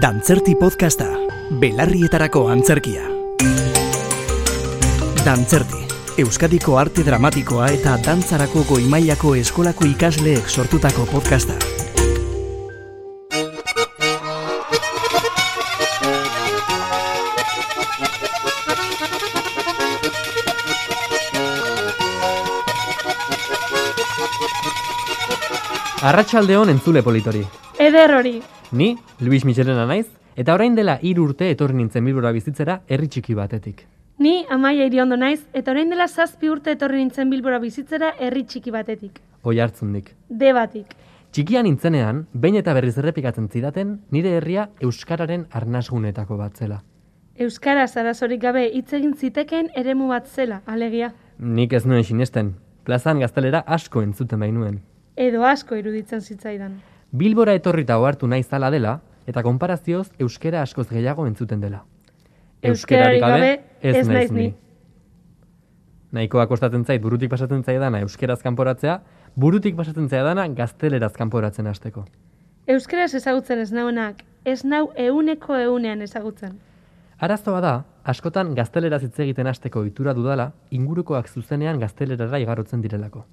Dantzerti podcasta, belarrietarako antzerkia. Dantzerti, Euskadiko arte dramatikoa eta dantzarako goimailako eskolako ikasleek sortutako podcasta. Arratxaldeon entzule politori. Eder hori. Ni, Luis Michelena naiz, eta orain dela hiru urte etorri nintzen Bilbora bizitzera herri txiki batetik. Ni amaia iriondo naiz, eta orain dela zazpi urte etorri nintzen Bilbora bizitzera herri txiki batetik. Oi hartzundik. Debatik. Txikian nintzenean, behin eta berriz errepikatzen zidaten, nire herria Euskararen arnasgunetako bat zela. Euskaraz arazorik gabe hitz egin zitekeen eremu bat zela, alegia. Nik ez nuen sinesten, plazan gaztelera asko entzuten bainuen. Edo asko iruditzen zitzaidan. Bilbora etorrita ohartu nahi zala dela, eta konparazioz euskera askoz gehiago entzuten dela. Euskararik gabe, ez naiz ni. Nahikoa kostatzen zait, burutik pasatzen zaidana euskeraz kanporatzea, burutik pasatzen zaidana gazteleraz kanporatzen hasteko. Euskaraz ezagutzen ez nauenak, ez nau euneko eunean ezagutzen. Arazoa da, askotan gazteleraz hitz egiten hasteko ohitura dudala, ingurukoak zuzenean gaztelerara igarotzen direlako.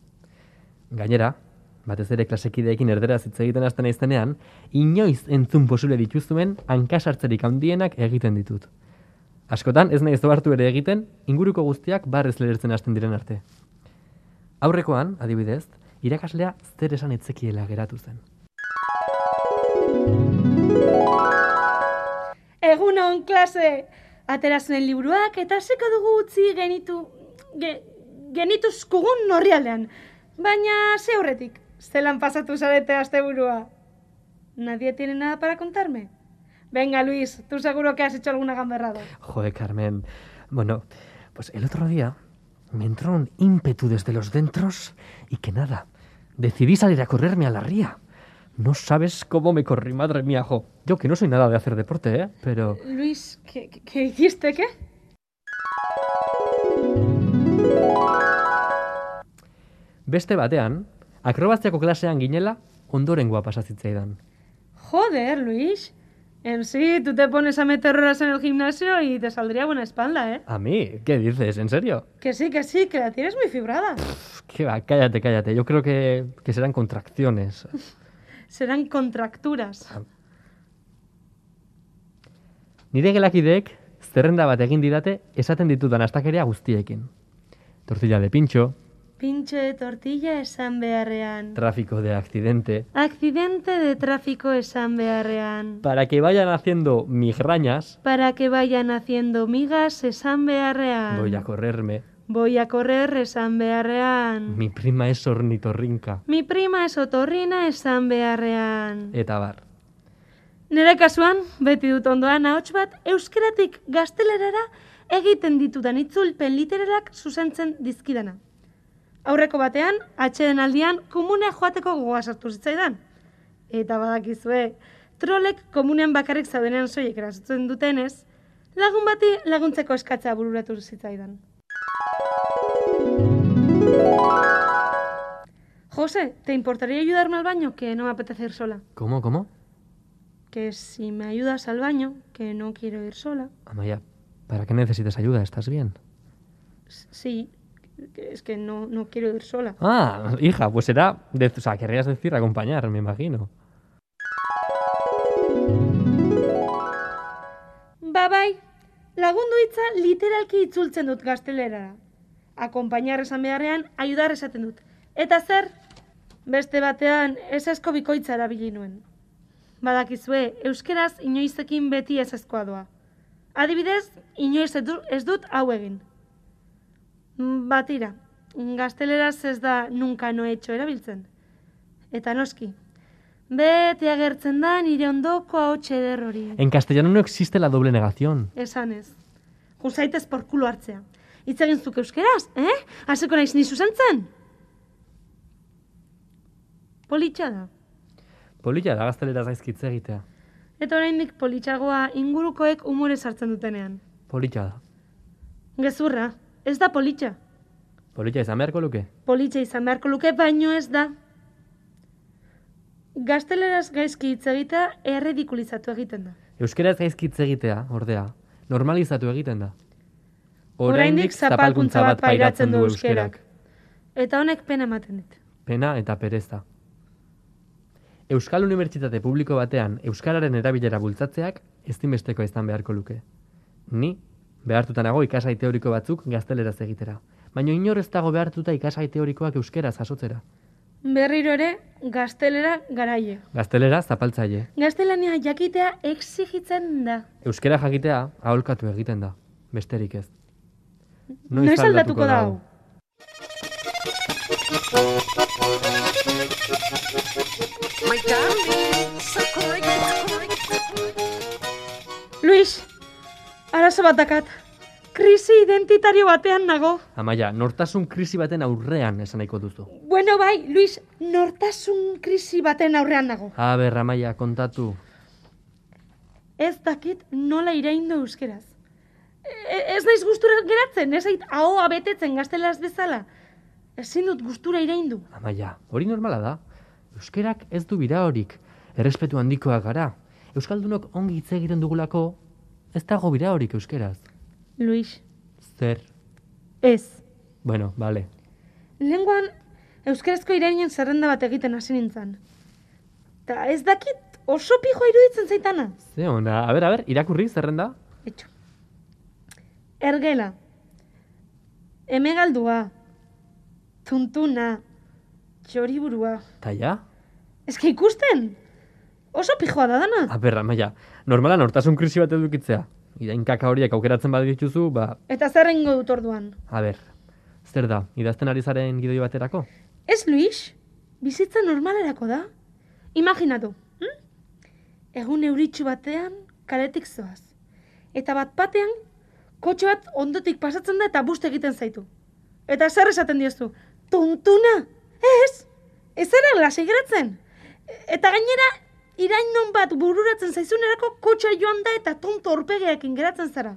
Gainera, batez ere klasekideekin erderaz hitz egiten hasten naizenean, inoiz entzun posible dituzuen hankasartzerik handienak egiten ditut. Askotan ez naiz hartu ere egiten, inguruko guztiak barrez lertzen hasten diren arte. Aurrekoan, adibidez, irakaslea zer esan etzekiela geratu zen. Egun on klase! Atera zuen liburuak eta seko dugu utzi genitu... Ge, genituzkugun norrialdean. Baina ze horretik, zelan pasatu zarete asteburua. Nadie tiene nada para contarme. Venga, Luis, tú seguro que has hecho alguna gamberrada. Joder, Carmen. Bueno, pues el otro día me entró un ímpetu desde los dentros y que nada, decidí salir a correrme a la ría. No sabes cómo me corrí, madre mía, jo. Yo que no soy nada de hacer deporte, ¿eh? Pero... Luis, ¿qué, qué- qué hiciste, qué? Beste batean, akrobaziako klasean ginela, ondorengoa pasazitzaidan. Joder, Luis. En sí, tú te pones a meter horas en el gimnasio y te saldría buena espalda, ¿eh? A mí, ¿qué dices? ¿En serio? Que sí, que sí, que la tienes muy fibrada. Pff, qué va, cállate, cállate. Yo creo que, que serán contracciones. Serán contracturas. Nire gelakideek zerrenda bat egin didate esaten ditudan astakeria guztiekin. Tortilla de pincho, Pinche tortilla esan beharrean. tráfico de accidente, Accidente de tráfico esan beharrean. para que vayan haciendo migrañas, Para que vayan haciendo migas esan beharrean. voy a correrme. Voy a correr esan beharrean. Mi prima es ornitorrinca. Mi prima es otorrina esan beharrean. Eta bar. Nere kasuan, beti dut ondoan ahots bat euskeratik gaztelerara egiten ditudan itzulpen literalak zuzentzen dizkidana. Aurreko batean, atxeden aldian, komunea joateko gogoa sartu zitzaidan. Eta badakizue, trolek komunean bakarrik zaudenean soilik erasotzen dutenez, lagun bati laguntzeko eskatzea bururatu zitzaidan. Jose, ¿te importaría ayudarme al baño? Que no me apetece ir sola. ¿Cómo, cómo? que si me ayudas al baño, que no quiero ir sola. Amaya, ¿para qué necesitas ayuda? ¿Estás bien? S- Sí, que- es que no, no quiero ir sola. Ah, hija, pues será... De, o sea, querrías decir acompañar, me imagino. Ba bai, lagundu hitza literalki itzultzen dut gaztelerara. Akompainar esan beharrean, ayudar esaten dut. Eta zer? Beste batean, esasko bikoitza erabili nuen. Badakizue, euskeraz inoizekin beti esaskoa doa. Adibidez, inoiz ez du- ez dut hau egin. Mm, Batira, gazteleraz ez da nunca no he hecho erabiltzen. Eta noski, beti agertzen da nire ondoko ahotsa eder hori. En castellano no existe la doble negación. Esan ez. Jusaitez porkulo hartzea. Hitz egin zuk euskeraz, eh? Haseko naiz ni zuzentzen? Politxa da. Polilla da gaztelera zaizkitze egitea. Eta oraindik politxagoa ingurukoek umore sartzen dutenean. Polilla da. Gezurra, ez da politxa. Polilla izan beharko luke? Politxa izan beharko luke baino ez da. Gazteleraz gaizki hitz egita erredikulizatu egiten da. Euskeraz gaizki hitz egitea, ordea, normalizatu egiten da. Oraindik zapalkuntza bat pairatzen du euskerak. Eta honek pena ematen dit. Pena eta pereza. Euskal Unibertsitate Publiko batean euskararen erabilera bultzatzeak ezinbesteko izan beharko luke. Ni behartuta nago ikasgai teoriko batzuk gazteleraz egitera, baina inor ez dago behartuta ikasgai teorikoak euskeraz jasotzera. Berriro ere, gaztelera garaie. Gaztelera zapaltzaile. Gaztelania jakitea exigitzen da. Euskara jakitea aholkatu egiten da, besterik ez. Noiz aldatuko da hau? My darling, so good, so good, so good. Luis, arazo bat dakat. Krisi identitario batean nago. Amaia, nortasun krisi baten aurrean esan nahiko duzu. Bueno, bai, Luis, nortasun krisi baten aurrean nago. Aber, Amaia, kontatu. Ez dakit nola iraindu euskeraz. E- ez naiz gustura geratzen, ez ait ahoa betetzen gaztelaz bezala. Ezin dut gustura iraindu. Amaia, hori normala da. Euskerak ez du bira horik. Errespetu handikoa gara. Euskaldunok ongi hitz egiten dugulako, ez dago bira horik euskeraz. Luis, Zer? ez. Bueno, bale. Lenguan euskarazko irainen zerrenda bat egiten hasi nintzen. Ta ez dakit oso pijoa iruditzen zaitana. Ze ona, aber, aber, irakurri zerrenda? Etxo. Ergela. Emegaldua. Tuntuna. Txoriburua. Taia? Ez que ikusten! Oso pijoa da dana. Aber, Amaia, normala nortasun krisi bat edukitzea. Irainkaka horiek aukeratzen badituzu, ba, Eta zer egingo dut orduan. aber, zer da, idazten ari zaren gidoi baterako? Ez, Luis? Bizitza normalerako da? Imaginatu, hm? Egun euritxu batean kaletik zoaz. Eta bat batean, kotxe bat ondotik pasatzen da eta bust egiten zaitu. Eta zer esaten diozu? Tuntuna! Ez! Ez zara lasai geratzen! E- Eta gainera, irainon bat bururatzen zaizunerako kotxea joan da eta tonto orpegeakin geratzen zara.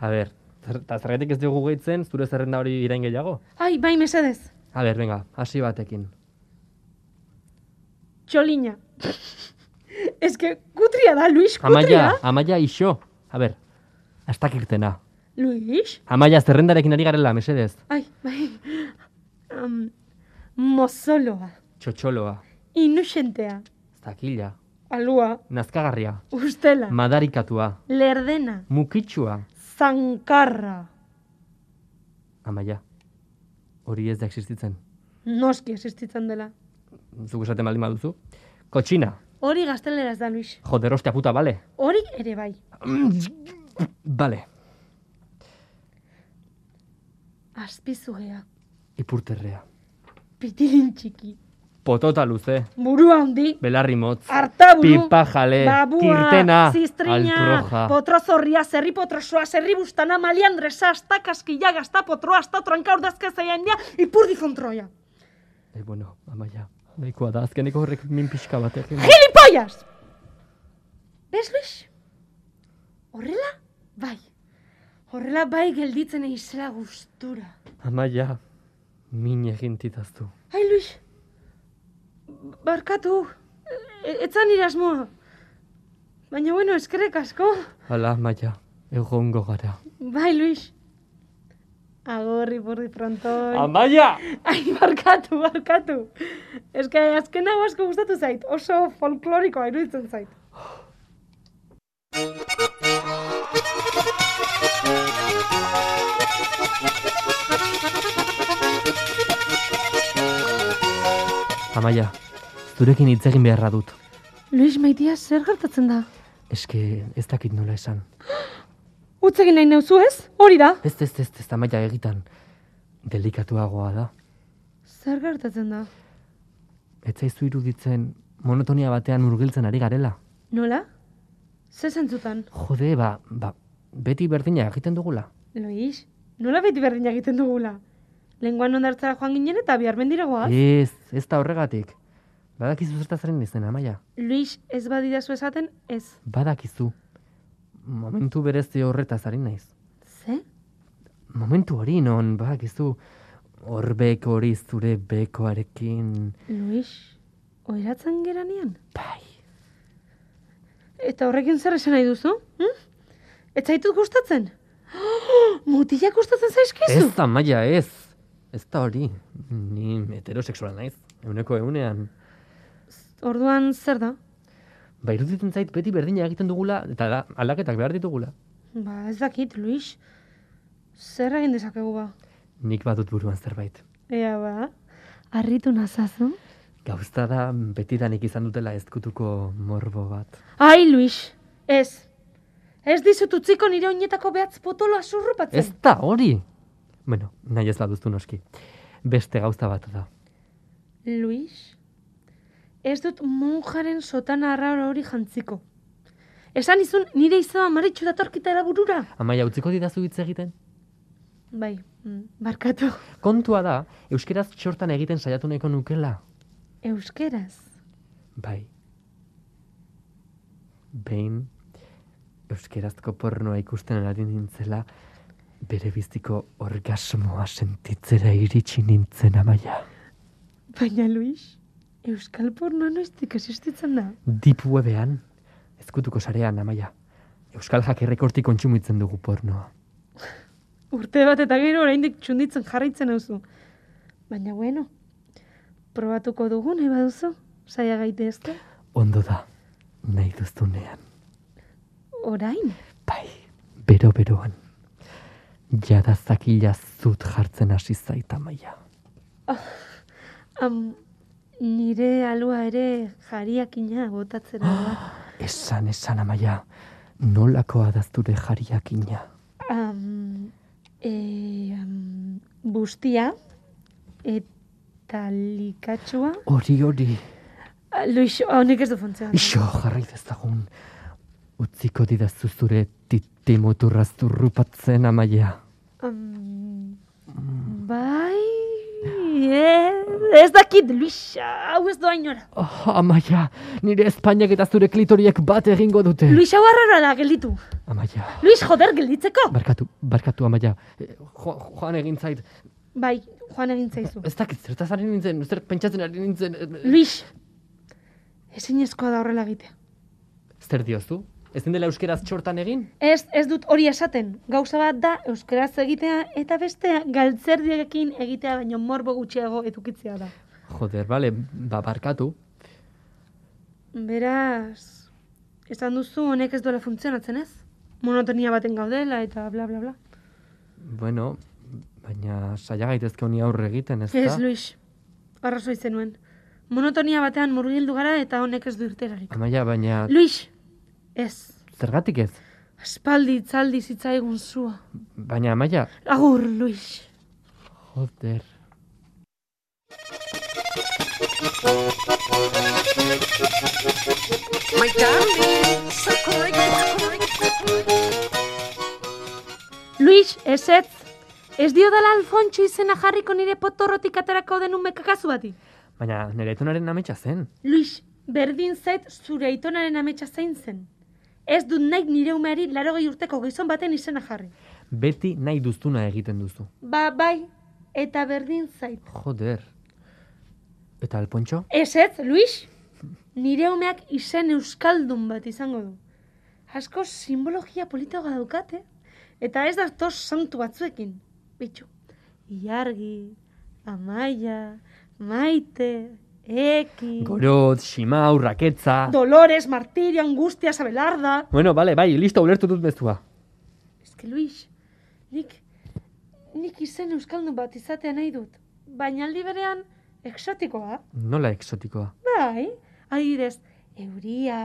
Aber, zer, eta zergatik ez dugu gehitzen, zure zerrenda hori irain gehiago? Ai, bai mesedez, Aber, venga, hasi batekin. txolina. Ez que kutria da, Luis, kutria. Amaia, amaia iso. A ber, astak irtena. Luis? Amaia zerrendarekin ari garela, mesedez. Ai, bai. Um, mozoloa, Txotxoloa, inusentea, zakila, alua, nazkagarria, ustela, madarikatua, lerdena, mukitsua. zankarra. Amaia, hori ez da existitzen. Noski existitzen dela. Zuk esaten baldin baduzu. Kotxina, Hori gazteleraz da, Luis. joder, ostia puta, bale? Hori ere bai. Bale, Azpizugea, ipurterrea. pitilin txiki, Potota luze, burua handi, belarri motz, artaburu, pipa jale, babua, kirtena, ziztrina, Eh, altroja. potrozorria, zerri potrosoa, zerri bustana, maliandresa, asta kaskila, gazta potroa, asta tranka urdazka zaian dia, ipurdi kontroia. Eh, bueno, amaia, nahikoa da, azkeneko horrek min pixka batekin. ¡Gilipollas! ¿Ves, Luis? Horrela, bai. Horrela bai gelditzen eizela gustura. Amaia, min egin titaztu. Ai, Luis. Barkatu. E Etzan nire asmoa. Baina, bueno, eskerrek asko. Hala, amaia, egongo gara. Bai, Luis. Agorri, burri, frontoi. Amaia! Ai, barkatu, barkatu. Ez que azken hau asko gustatu zait. Oso folklorikoa iruditzen zait. Amaia, zurekin hitz egin beharra dut. Luis, maitia zer gertatzen da? Eske, ez dakit nola esan. Utzegin nahi neuzu ez? Hori da. Ez, ez, ez, ez, amaia egitan. Delikatuagoa da. Zer gertatzen da? Ez zaizu iruditzen monotonia batean murgiltzen ari garela. Nola? Ze zentzutan? Jode, ba, ba, beti berdina egiten dugula. Luis, nola beti berdina egiten dugula? Lenguan ondartzara joan ginen eta bihar mendira goaz. Ez, ez da horregatik. Badakizu zertazaren izen, amaia. Luis, ez badidazu esaten, ez. Badakizu. Momentu berezi horretaz ari naiz. Ze? Momentu hori non, ba, badakizu. Horbek hori zure bekoarekin. Luis, Oeratzen geranean? Bai. Eta horrekin zer esan nahi duzu? Hm? Ez zaitut gustatzen? Mutilak gustatzen zaizkizu? Ez da maia, ez. Ez da hori. Ni heterosexuala naiz. Euneko eunean. Orduan zer da? Ba, iruditzen zait beti berdina egiten dugula, eta da, aldaketak behar ditugula. Ba, ez dakit, Luis. Zer egin dezakegu ba? Nik badut buruan zerbait. Ea ba, harritu nazazu? Gauzta da, betidanik izan dutela ezkutuko morbo bat. Ai, Luis, ez. Ez dizut utziko nire oinetako behatz potoloa zurrupatzen. Ez da hori! Bueno, nahi ez baduztu noski. Beste gauza bat da. Luis, ez dut monjaren sotana arraro hori jantziko. Esan izun nire izaba maritxu datorkitara burura. Amaia, utziko didazu hitz egiten? Bai, mm, barkatu. Kontua da, euskeraz txortan egiten saiatu nahiko nukela. Euskeraz. Bai. Behin, euskerazko pornoa ikusten ari nintzela, bere biztiko orgasmoa sentitzera iritsi nintzen amaia. Baina, Luis, euskal porno noiztik existitzen da. Deep webean, ezkutuko sarean amaia. Euskal jakerrek hortik kontsumitzen dugu pornoa. Urte bat eta gero oraindik txunditzen jarraitzen hauzu. Baina, bueno, probatuko dugu nahi baduzu, saia gaitezke. Ondo da, nahi duztunean. Orain? Bai, bero-beroan. Jada zakila zut jartzen hasi zaita maia. Am, nire alua ere jariakina botatzera da. Esan, esan amaia, nolako adazture jariakina. Am, e, am, bustia eta likatxua. Hori, hori, Ah, Luis, honek ez du funtzioan. iso jarrai dezagun. Utziko didazu zure tite moturraztu rupatzen amaia. Am, Um, bai, ez- ez dakit, Luis, hau ez doa inora. Oh, amaia, nire Espainiak eta zure klitoriek bat egingo dute. Luis, hau arrara da, gelditu. Amaia, Luis, joder, gelditzeko. barkatu, barkatu amaia. Eh, Jo, joan egin zait, Bai, joan egin zaizu. ez dakit zertaz ari nintzen, zer pentsatzen ari nintzen. eh, Luis, ezinezkoa da horrela egitea. Zer diozu? Ezin dela euskeraz txortan egin? Ez, ez dut hori esaten. Gauza bat da euskaraz egitea eta bestea galtzerdiekin egitea baino morbo gutxiago edukitzea da. Joder, bale, ba, barkatu. Beraz, esan duzu honek ez duela funtzionatzen ez? Monotonia baten gaudela eta bla bla bla. Bueno, baina saia gaitezke honi aurre egiten, ez Ez, da? Luis, arrazoi zenuen. Monotonia batean murgildu gara eta honek ez du irterarik. Amaia, baina Luis, ez. zergatik ez? Aspaldi itzaldi zitzaigun zua. Baina, Amaia, Agur, Luis. joder. My darling, so quick, quick, quick. Luis, ez ez. Ez dio dala Alfontxo izena jarriko nire potorrotik aterako denun mekakazu bati. Baina, nire itunaren ametsa zen. Luis, berdin zait zure aitonaren ametsa zein zen. Ez dut nahi nire umeari laro urteko gizon baten izena jarri. Beti nahi duztuna egiten duzu. Ba, bai, eta berdin zait. Joder. Eta Alpontxo? Ez ez, Luis? Nire umeak izen euskaldun bat izango du. Asko simbologia politagoa daukate, eta ez datoz santu batzuekin. Bitxu, iargi, amaia, maite, eki, Gorot, Simau, Raketza... dolores, martirio, angustia, abelarda. Bueno, bale, bai, listo, ulertu dut mezua. Ez que, Luis, nik, nik izen euskaldun bat izatea nahi dut. Baina aldi berean, eksotikoa. Nola exotikoa. Bai, adibidez, euria,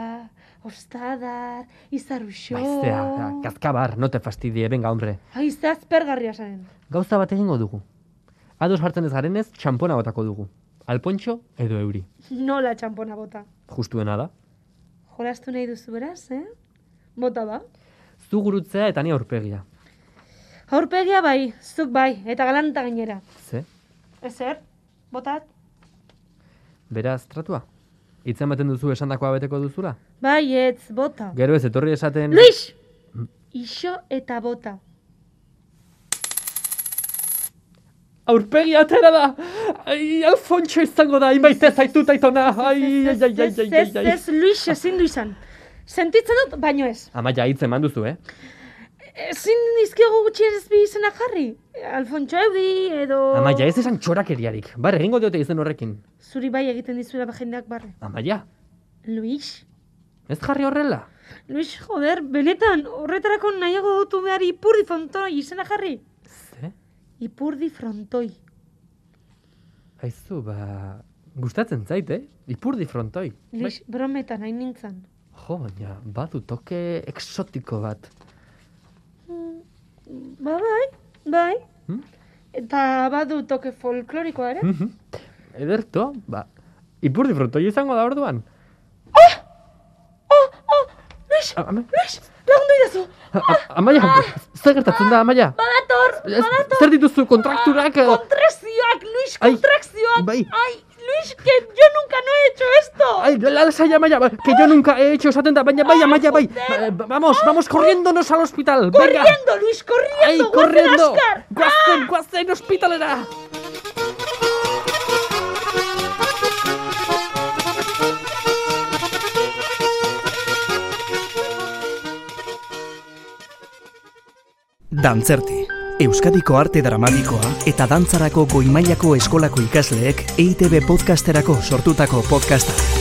ostadar, izarruxo... Maiztea, da, kazkabar, no te fastidie, venga, hombre. Aiztea azpergarria zaren. Gauza bat egingo dugu. Ados hartzen ez garenez, txampona botako dugu. Alpontxo edo euri. Nola txampona bota. Justuena da. Jolastu nahi duzu beraz, eh? Bota ba. Zu gurutzea eta ni aurpegia. Aurpegia bai, zuk bai, eta galanta gainera. Ze? Ezer, botat? Beraz, tratua? Hitz ematen duzu esandakoa beteko duzula? Bai, etz, bota. Gero ez etorri esaten... Luis! Iso eta bota. Aurpegi atera da! Ai, Alfontxo izango da, inbaite zaitu taitona! Ai, ai, ai, ai, ai, Ez, ai, ai. ez, Luis ezin du izan. Sentitzen dut, baino ez. Amaia hitz eman duzu, eh? Ezin dizkiogu gutxi ez bi izena jarri. Alfontxo Eudi edo... Amaia, ez esan txorakeriarik. Bar, egingo diote izen horrekin. Zuri bai egiten dizuela jendeak barre. Amaia, Luis? ez jarri horrela? Luis, joder, benetan, horretarako nahiago dutu behar ipurdi frontoi izena jarri. Ze? Ipurdi frontoi. Aizu, ba... Gustatzen zait, eh? Ipurdi frontoi. Luis, Bai. brometan hain nintzen. Jo, baina, badu toke exotiko bat. Ba, bai, bai. Hmm? Eta badu toke folklorikoa ere. Mhm. Ederto, ba... Ipurdi frontoi izango da orduan. Oh, oh, Luis, A- ama- Luis, lagundu idazu. a- a- Amaia, zer gertatzen da, Amaia? Badator, Ez- badator. Zer dituzu kontrakturak? eh? Contracciones, Luis, Ay, contracciones. bai. Ay, Luis, que yo nunca no he hecho esto. Ay, la la saya, Maya, que yo nunca he hecho esa tenda. Vaya, vaya, Maya, vaya. Eh, Vamos, vamos corriéndonos al hospital. Venga. Corriendo, Luis, corriendo. Ay, guazen corriendo. azkar. Guazen, guazen, hospitalera. Dantzerti, Euskadiko arte dramatikoa E eta dantzarako goimailako eskolako ikasleek EITB podcasterako sortutako podcasta.